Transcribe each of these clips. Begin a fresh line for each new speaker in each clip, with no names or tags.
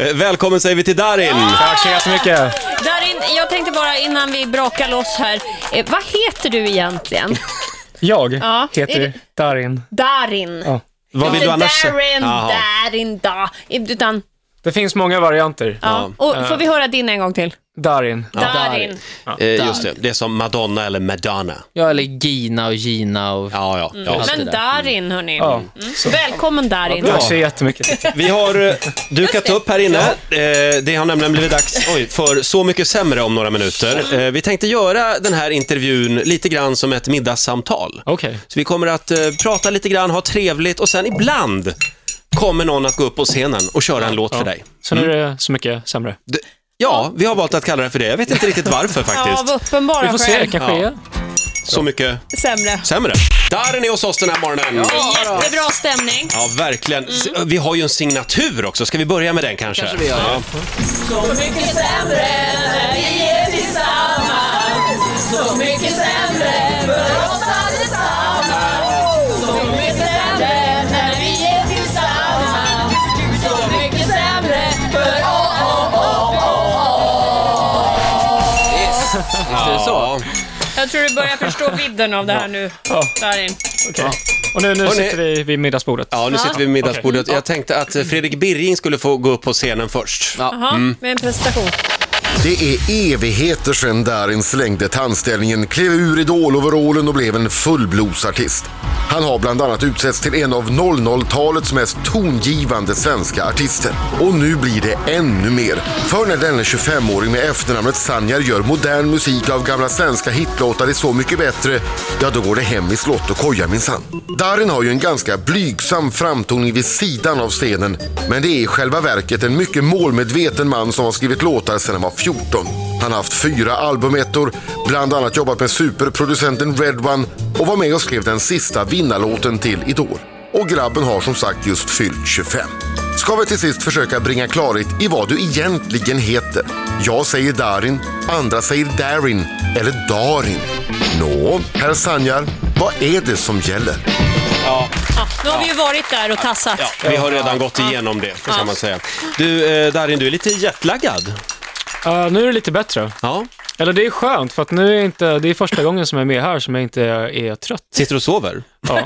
Eh, Välkommen säger vi till Darin.
Tack så jättemycket.
Darin, jag tänkte bara innan vi brakar loss här. Eh, vad heter du egentligen?
Jag
Ja. Är
heter
det-
Darin.
Darin.
Ja.
Vad vill
Inte
du annars säga?
Darin,
Jaha.
Darin, da. Utan,
Det finns många varianter.
ja. Och, får vi höra din en gång till?
Darin.
Darin.
Eh, Just det, det är som Madonna eller Madonna.
Ja, eller Gina och Gina och...
Ja, ja. ja.
Allt det
Men
där.
Darin, hörni.
Ja.
Mm.
Välkommen Darin.
Tack så jättemycket.
Vi har eh, dukat upp här inne. Eh, Det har nämligen blivit dags oj, för Så mycket sämre om några minuter. Eh, Vi tänkte göra den här intervjun lite grann som ett middagssamtal.
Okej.
Så vi kommer att eh, prata lite grann, ha trevligt och sen ibland kommer någon att gå upp på scenen och köra en låt för dig. Mm.
Så nu är det så mycket sämre.
D- Ja, vi har valt att kalla det för det. Jag vet inte riktigt varför
Av
faktiskt.
uppenbara
Vi får se,
skäl.
kanske
Ja.
är
Så mycket
Sämre.
sämre. Där är ni hos oss den här morgonen.
Jättebra stämning.
Ja, verkligen. S- Vi har ju en signatur också. Ska vi börja med den Mm. kanske? kanske vi gör. Ja. Ja.
Jag tror du börjar förstå vidden av det här nu, Darin.
Okej. Och nu, nu
Hörni.
sitter vi vid middagsbordet.
ja, nu sitter vi vid middagsbordet. Jag tänkte att eh, Fredrik Birging skulle få gå upp på scenen först.
Jaha,
Mm.
med en presentation.
Det är evigheter sedan Darin slängde tandställningen, klev ur idoloverallen och blev en fullblodsartist. Han har bland annat utsetts till en av 00-talets mest tongivande svenska artister. Och nu blir det ännu mer. För när denne 25-åring med efternamnet Sanjar gör modern musik av gamla svenska hitlåtar är så mycket bättre, ja då går det hem i slott och koja minsann. Darin har ju en ganska blygsam framtoning vid sidan av scenen, men det är i själva verket en mycket målmedveten man som har skrivit låtar sedan han var 14. Han har haft fyra albumettor, bland annat jobbat med superproducenten Red One och var med och skrev den sista vinnarlåten till Idol. Och grabben har som sagt just fyllt 25. Ska vi till sist försöka bringa klarhet i vad du egentligen heter? Jag säger Darin, andra säger Darin eller Darin. Nå, herr Sanjar, vad är det som gäller?
Ja, nu har vi ju varit där och tassat.
Ja, vi har redan gått igenom det, kan man säga. Du, eh, Darin, du är lite jetlaggad.
Ja, nu är det lite bättre.
Ja.
Eller det är skönt, för att nu är inte, det är första gången som jag är med här som jag inte är trött.
Sitter du och sover?
Ja,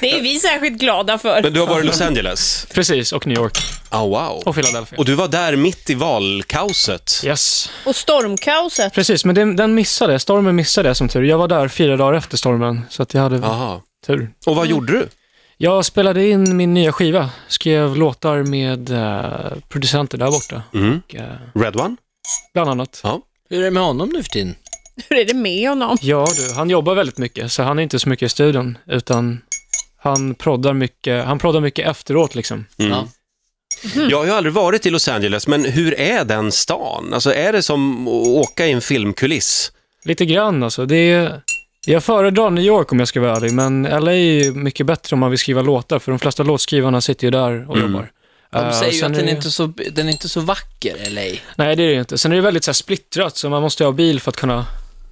Det är vi särskilt glada för.
Men du har varit i Los Angeles?
precis. Och New York
Oh, wow.
och Philadelphia.
Och du var där mitt i valkaoset.
Yes.
Och stormkaoset.
Precis, men den, den missade. Stormen missade jag som tur. Jag var där fyra dagar efter stormen, så att jag hade
Aha.
tur.
Och vad gjorde du?
Jag spelade in min nya skiva, skrev låtar med eh, producenter där borta.
Mm.
Och, eh,
Red One?
bland annat.
Ja.
Hur är det med honom nu för tiden?
Hur är det med honom?
Ja du, han jobbar väldigt mycket, så han är inte så mycket i studion, utan han proddar mycket, han proddar mycket efteråt liksom.
Ja.
Mm. Jag har ju aldrig varit i Los Angeles, men hur är den stan? Alltså är det som att åka i en filmkuliss?
Lite grann alltså. Det är, jag föredrar New York om jag ska vara ärlig, men LA är ju mycket bättre om man vill skriva låtar, för de flesta låtskrivarna sitter ju där och jobbar. Eh,
De
och
säger ju
sen
att
är
den
det-
är inte så, den är inte så vacker, LA.
Nej, det är det ju inte. Sen är det väldigt så här, splittrat, så man måste ha bil för att kunna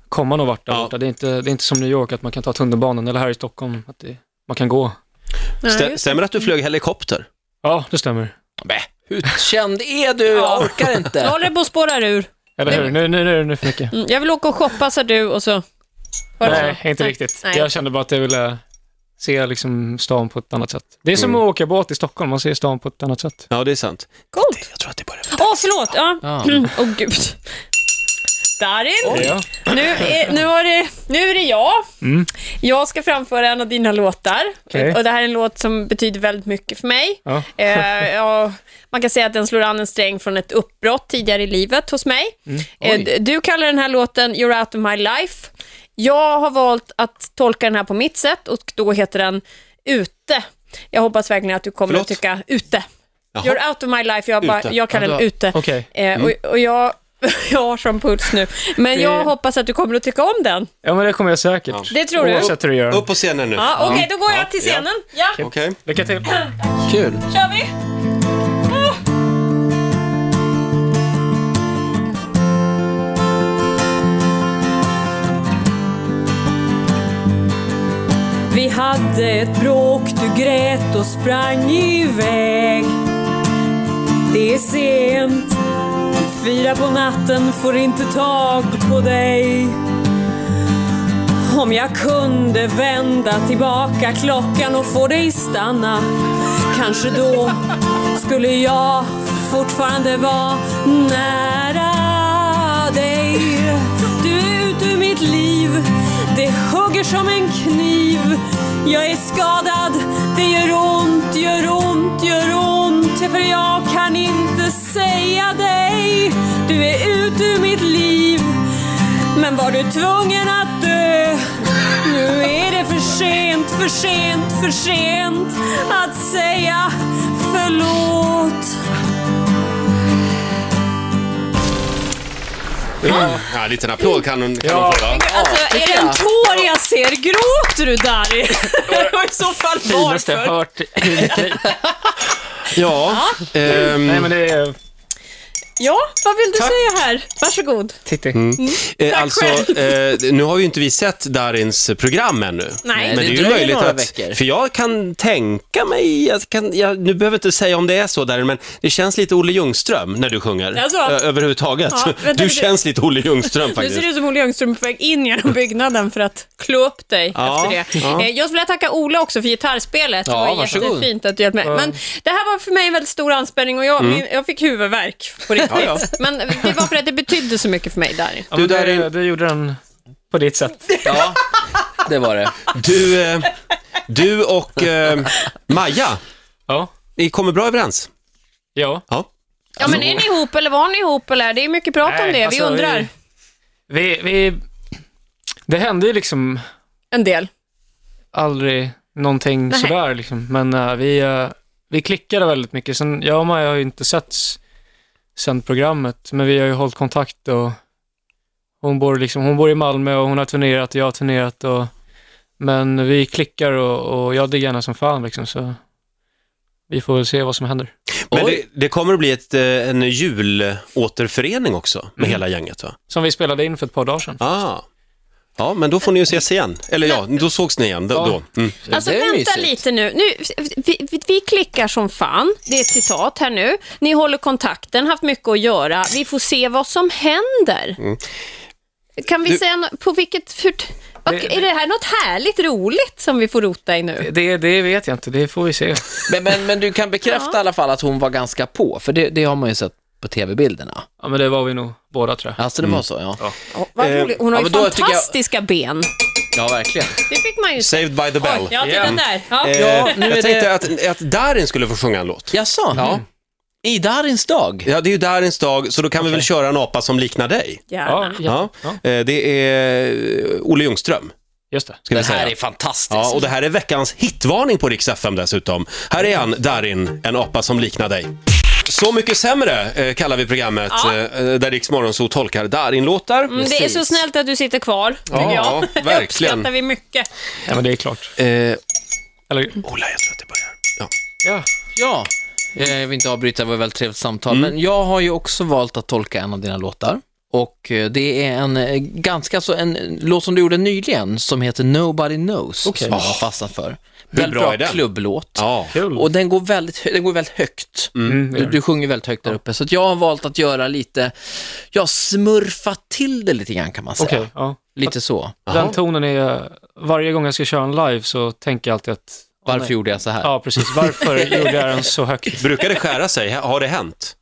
komma någon vart där
Ja.
borta. Det, är inte, det är inte som New York, att man kan ta tunnelbanan, eller här i Stockholm, att det, man kan gå.
Nej,
Stä-
just-
stämmer det att du flög helikopter?
Ja, det stämmer.
Bäh, hur känd är du? Jag orkar
Nu
inte.
håller det på att spåra ur.
Eller hur? Nu, nu, nu är det nu för mycket.
Mm, Jag vill åka och shoppa, sa du, och så... Var det
Nej,
så?
inte riktigt.
Nej.
Jag kände bara att jag ville se liksom stan på ett annat sätt. Det är som
Mm.
att åka båt i Stockholm, man ser stan på ett annat sätt.
Ja, det är sant.
Coolt.
Jag tror att det börjar
Åh, förlåt. Ja.
Ja.
Mm, Åh, gud. Darin,
Ja. Mm.
nu är, nu, har det, nu är det jag. Jag ska framföra en av dina låtar.
Okej.
Och Det här är en låt som betyder väldigt mycket för mig.
Ja.
Eh, ja, man kan säga att den slår an en sträng från ett uppbrott tidigare i livet hos mig. Eh, d- du kallar den här låten You're out of my life. Jag har valt att tolka den här på mitt sätt och då heter den Ute. Jag hoppas verkligen att du kommer
Förlåt?
att tycka Ute.
Jaha.
You're out of my life, jag, bara,
Ute.
jag kallar den
Ja,
Ute.
Okej.
Eh, och, och jag, jag har som puls nu. Men
Det-
jag hoppas att du kommer att tycka om den.
Ja, men det kommer jag säkert.
Det tror du?
Oavsett hur du gör.
Upp på scenen nu.
Ja, Okej, då går
Ja,
jag till
ja.
scenen. Ja,
Okej.
Lycka till.
Mm.
Kul.
kör vi! Ah!
Vi hade ett bråk, du grät och sprang iväg Det är sent, fyra på natten, får inte tag på dig. Om jag kunde vända tillbaka klockan och få dig stanna, kanske då skulle jag fortfarande vara nära dig. Du är ut ur mitt liv, det hugger som en kniv. Jag är skadad, det gör ont, gör ont, gör ont. För jag kan inte säga dig, du är ut ur mitt liv. Men var du tvungen att dö? Nu är det för sent, för sent, för sent att säga förlåt.
Ja, en liten applåd kan, kan man få, va?
Alltså, är det en tår jag ser? Gråter du Dari? Och i så fall
Finaste jag
varför?
hört i mitt liv.
Ja, ehm,
Nej, men det är...
Ja, vad vill du säga här? Varsågod.
Titti.
Mm.
eh, alltså, eh, nu har ju inte vi sett Darins program ännu.
Nej.
Men
det
det, är ju
dröjer
möjligt
några
att...
veckor.
För jag kan tänka mig, jag kan, jag, nu behöver jag inte säga om det är så Darin, men det känns lite Olle Ljungström när du sjunger.
Alltså?
Ö- överhuvudtaget.
Ja, vänta
du
lite.
känns lite Olle Ljungström
Nu
faktiskt.
ser det ut som Olle Ljungström på väg in genom byggnaden för att klå upp dig
Ja,
efter det.
ja.
Eh, Jag skulle vilja tacka Ola också för gitarrspelet.
Ja,
det var
varsågod.
jättefint att du hjälpte mig. Men det här var för mig en väldigt stor anspänning och jag, min, jag fick huvudvärk på riktigt.
ja.
Men det var för att det betydde så mycket för mig där.
Ja,
Du,
men det,
där är-
det gjorde den på ditt sätt.
Ja, det var det.
Du, eh, du och eh, Maja,
Ja.
ni kommer bra överens.
Ja.
Ja.
Ja, men är ni ihop eller var ni ihop eller? Det är mycket prat om
Nej,
det, vi
alltså,
undrar.
Vi, vi... Det hände ju liksom
En del.
aldrig någonting
Nej.
sådär liksom. Men eh, vi, eh, vi klickade väldigt mycket. Sen, jag och Maja har ju inte setts sen programmet, men vi har ju hållit kontakt och hon bor, liksom, hon bor i Malmö och hon har turnerat och jag har turnerat. Och, men vi klickar och, och jag diggar henne som fan liksom, så vi får väl se vad som händer.
Men
Oj.
det, det kommer att bli ett, eh, en julåterförening också
Mm.
med hela gänget va?
Som vi spelade in för ett par dagar sedan.
Ah. Ja, men då får ni ju ses igen. Eller ja, då sågs ni igen. Då,
Ja.
då. Mm.
Alltså
det är
vänta
mysigt.
lite nu. nu vi, vi, vi klickar som fan, det är ett citat här nu. Ni håller kontakten, haft mycket att göra. Vi får se vad som händer. Kan vi
Du-
säga nå- på vilket... Hur, vad,
Det- Eh,
är det här något härligt roligt som vi får rota i nu?
Det, det vet jag inte, det får vi se.
Men, men, men du kan bekräfta i alla fall att hon var ganska på, för det, det har man ju sett på tv-bilderna.
Ja, men det var vi nog båda tror jag.
Alltså det var så, ja. Ja,
Åh, vad
Eh,
roligt. Hon har
ja,
ju
men då tycker jag-
fantastiska ben.
verkligen.
Det fick man ju se.
Saved by the bell.
Oj, ja, titta där. Ja.
Eh,
Ja, nu är
jag
det-
tänkte att, att Darin skulle få sjunga en låt.
Jaså? Ja. I Darins dag?
Ja, det är ju Darins dag, så då kan vi väl köra en apa som liknar dig.
Gärna.
Ja. Eh, Det är eh, Olle Ljungström,
just det.
ska vi
Det
säga.
här är fantastiskt.
Ja, och det här är veckans hitvarning på Rix FM dessutom. Här är han, Darin, en apa som liknar dig. Så mycket sämre eh, kallar vi programmet
Ja.
eh, där Rix Morgonzoo tolkar Darin-låtar.
Mm, Det är så snällt att du sitter kvar, tycker
Ja,
jag.
verkligen.
uppskattar vi mycket.
Ja, men det är klart.
Eh,
Eller,
Ola, jag tror att det börjar. Ja.
ja.
Ja, eh, jag vill inte avbryta, det var ett väldigt trevligt samtal,
Mm.
men jag har ju också valt att tolka en av dina låtar. Och eh, det är en eh, ganska så, en eh, låt som du gjorde nyligen som heter Nobody Knows, som jag har fastnat för. Väldigt
bra
bra,
är den?
klubblåt.
ja.
Kul.
Och den går väldigt, hö- den går väldigt högt.
Mm, det
Du,
gör
du sjunger väldigt högt där uppe, så att jag har valt att göra lite, jag smurfat till det lite grann kan man säga.
Okej, ja.
Lite så.
Jaha.
Den tonen är, varje gång jag ska köra en live så tänker jag alltid att,
Varför gjorde jag så här?
ja precis, varför gjorde jag den så högt?
Brukar det skära sig? Har det hänt?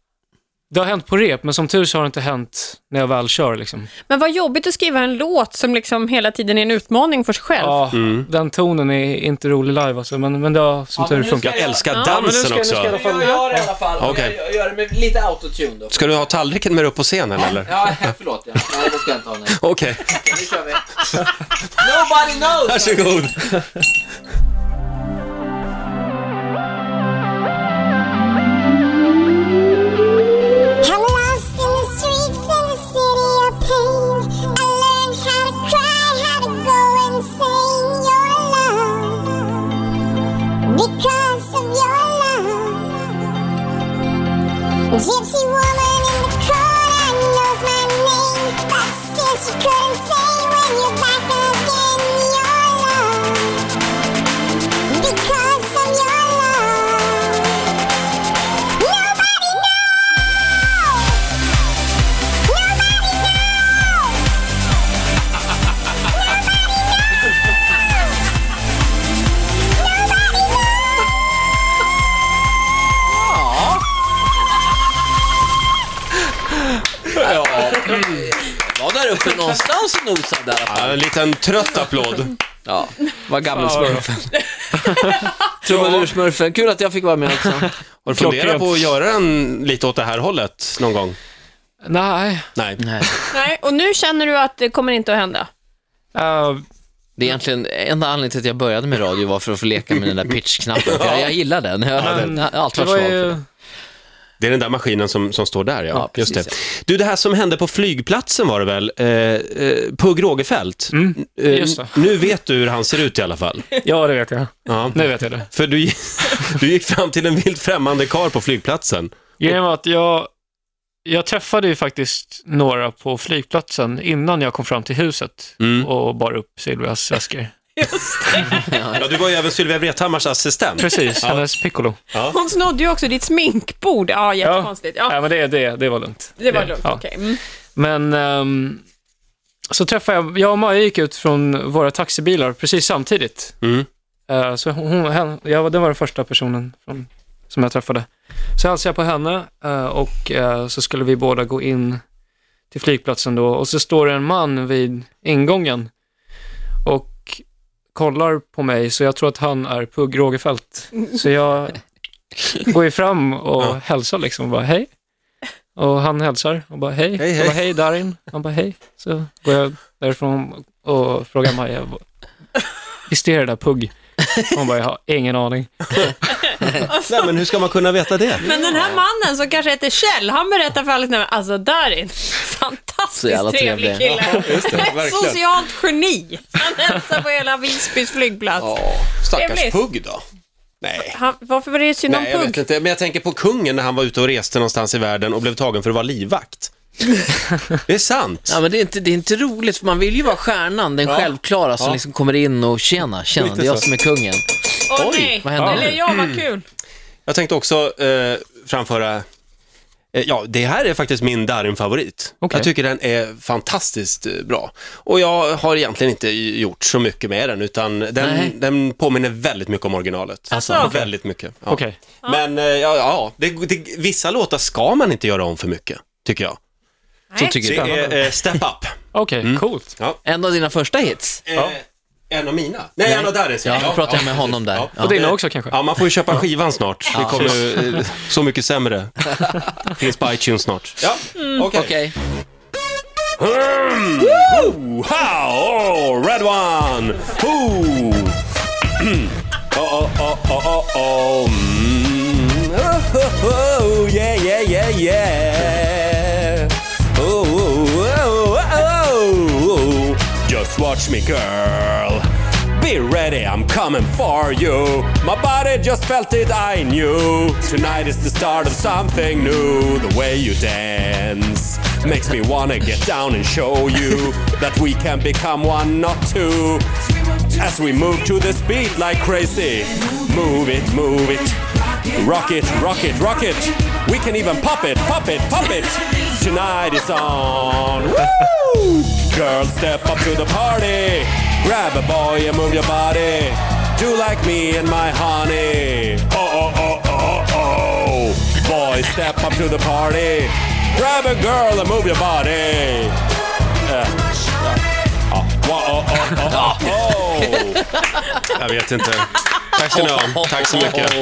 Det har hänt på rep, men som tur så har det inte hänt när jag väl kör liksom.
Men vad jobbigt att skriva en låt som liksom hela tiden är en utmaning för sig själv.
Ja,
Mm.
den tonen är inte rolig live alltså, men, men det har som tur funkat.
Jag älskar
Ja, men nu
dansen också. Ska,
Jag gör det i alla fall,
Okej.
jag gör det med lite autotune då.
du ha tallriken med dig upp på scenen eller?
Ja, förlåt ja. Nej, det ska jag inte ha. Nej.
Okej,
Nu kör vi. Nobody knows!
varsågod.
I'm lost in the streets of the city of pain. I learned how to cry, how to go insane. Your love, because of your love. Gypsy woman in the corner knows my name, but still she couldn't say when you're back again. Your love, because of your love. Nobody knows.
Var där uppe någonstans och nosade i alla fall.
Ja, en liten trött applåd.
Ja, var gammelsmurfen. Trubadursmurfen. Kul att jag fick vara med också.
Har du funderat på att göra en lite åt det här hållet någon gång?
Nej,
Nej.
Nej.
Nej, och nu känner du att det kommer inte att hända?
eh,
Det är egentligen enda anledningen till att jag började med radio var för att få leka med den där pitch-knappen. För jag, jag gillar den. Jag har alltid
det
varit
var
svag för den.
ju...
Det är den där maskinen som, som står där, ja.
Ja, precis,
Just det. Du, det här som hände på flygplatsen var det väl? Eh, eh, Pugh Rogefeldt.
Mm,
Eh,
just det.
Nu vet du hur han ser ut i alla fall.
Ja, det vet jag.
Ja.
Nu vet jag det.
För du, du gick fram till en vilt främmande karl på flygplatsen.
Grejen var att jag, jag träffade ju faktiskt några på flygplatsen innan jag kom fram till huset
Mm.
och bar upp Silvias väskor.
Ja, du var ju även Sylvia Vrethammars assistent.
Precis, hennes piccolo.
Hon snodde ju också ditt sminkbord. Ja, jättekonstigt. Ja,
Ja, men det, det, det var lugnt.
det var lugnt.
ja.
Okej. Mm.
Men ehm, så träffade jag, jag och Maja gick ut från våra taxibilar precis samtidigt.
Mm.
Eh, så hon, hon, hen- jag, var- det var den första personen från, som jag träffade. Så hälsade jag på henne eh, och eh, så skulle vi båda gå in till flygplatsen då och så står det en man vid ingången och kollar på mig så jag tror att han är Pugh Rogefeldt. Så jag går ju fram och hälsar liksom bara hej. Och han hälsar och bara hej.
Hej,
Jag bara, hej Darin. Han bara hej. Så går jag därifrån och frågar Maja. vad- Visst är det där Pugh? Hon bara, jag har ingen aning.
Nej, men hur ska man kunna veta det?
Men den här mannen som kanske heter Kjell, han berättar för Alice, nej, men alltså Darin,
Så jävla
fantastiskt
trevlig.
trevlig kille. Ett socialt geni. Han hälsar på hela Visbys flygplats.
stackars
Trevligt.
Pugh då. Nej.
Han, varför var det synd om
Nej, jag vet
Pugg?
inte. Men jag tänker på kungen när han var ute och reste någonstans i världen och blev tagen för att vara livvakt. Det är sant.
Ja, men det, är inte, det är inte roligt, för man vill ju vara stjärnan, den självklara som
Ja.
liksom kommer in och tjena, tjena, det är jag som är kungen.
Åh
Oj,
nej,
vad hände
eller
nu?
ja, vad kul.
Jag tänkte också eh, framföra, eh, ja det här är faktiskt min Darin-favorit.
Okej.
Jag tycker den är fantastiskt eh, bra. Och jag har egentligen inte gjort så mycket med den, utan
Nej.
den, den påminner väldigt mycket om originalet.
Alltså.
Väldigt mycket. Ja.
Okej.
Men eh, ja, ja det, det, vissa låtar ska man inte göra om för mycket, tycker jag.
Så
Nej.
tycker
Det
jag.
är Mm. eh, Step Up.
Okej, coolt.
En av dina första hits.
Eh, En av mina. Nej, en av Darins.
Ja, då pratar jag med honom där.
Ja.
Ja.
Och dina också kanske?
Ja, man får ju köpa skivan snart. Det kommer ju, eh, så mycket sämre. Finns på iTunes snart. Ja, okej.
Okej,
Woo! Ha! Oh, red one! Who? oh, oh, oh, oh, oh. Mm. Oh, oh, oh, yeah, yeah, yeah, yeah. Oh, oh, oh, oh, oh. Just watch me, girl. Be ready, I'm coming for you. My body just felt it, I knew. Tonight is the start of something new. The way you dance makes me wanna get down and show you that we can become one, not two. As we move to this beat like crazy. Move it, move it. Rock it, rock it, rock it. We can even pop it, pop it, pop it. Tonight is on. Woo! Girl, step up to the party. Grab a boy and move your body. Do like me and my honey. Oh, oh, oh, oh, oh. Boy, step up to the party. Grab a girl and move your body. Uh, uh, oh, oh, oh, oh, oh. Jag vet inte. Tack ska ni ha. Tack så mycket.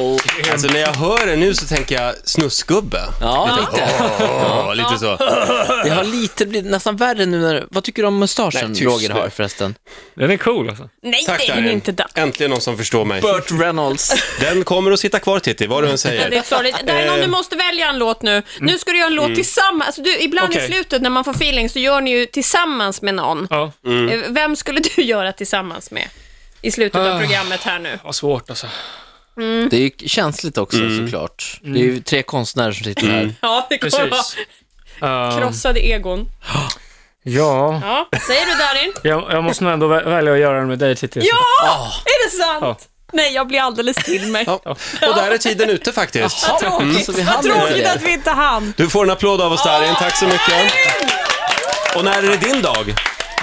Alltså när jag hör det nu så tänker jag snuskgubbe.
ja, lite.
Ja, lite så.
Det har lite blivit nästan värre nu när, vad tycker du om mustaschen
Nej, tyst
Roger
nu.
har förresten?
Den är cool alltså.
Nej,
Tack
det är
Darin.
inte där.
Äntligen någon som förstår mig.
Burt Reynolds.
Den kommer att sitta kvar Titti, vad du än
Det
säger.
är sorgligt. Darin, om du måste välja en låt nu. Nu ska du göra en låt tillsammans. Alltså, du, ibland i
Okej.
slutet när man får feeling så gör ni ju tillsammans med någon.
Ja,
Mm.
Eh, Vem skulle du göra tillsammans med i slutet av
Ah.
programmet här nu?
vad svårt alltså.
Det är ju känsligt också såklart. Det är ju tre konstnärer som sitter här.
Ja, det kommer vara
Precis. Ehm,
krossade egon.
ja,
Ja, vad säger du Darin? Ah.
jag, jag måste nog ändå vä- välja att göra den med dig Titti.
Ja, är det sant? Nej, jag blir alldeles till mig.
Ja. Och där är tiden ute faktiskt.
Vad
Tråkigt.
Så Alltså, vi
Vad
hann inte
tråkigt
det.
att vi inte hann.
Du får en applåd av oss Darin, tack så mycket. Och när är det din dag?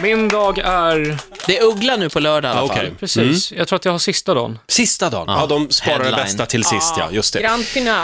Min dag är...
Det är Uggla nu på lördag i alla fall.
Ah, Okej. Mm.
Precis, jag tror att jag har sista dagen.
Sista dagen? Ja, de sparar det
Headline.
bästa till sist, ja. Just det.
Grand final.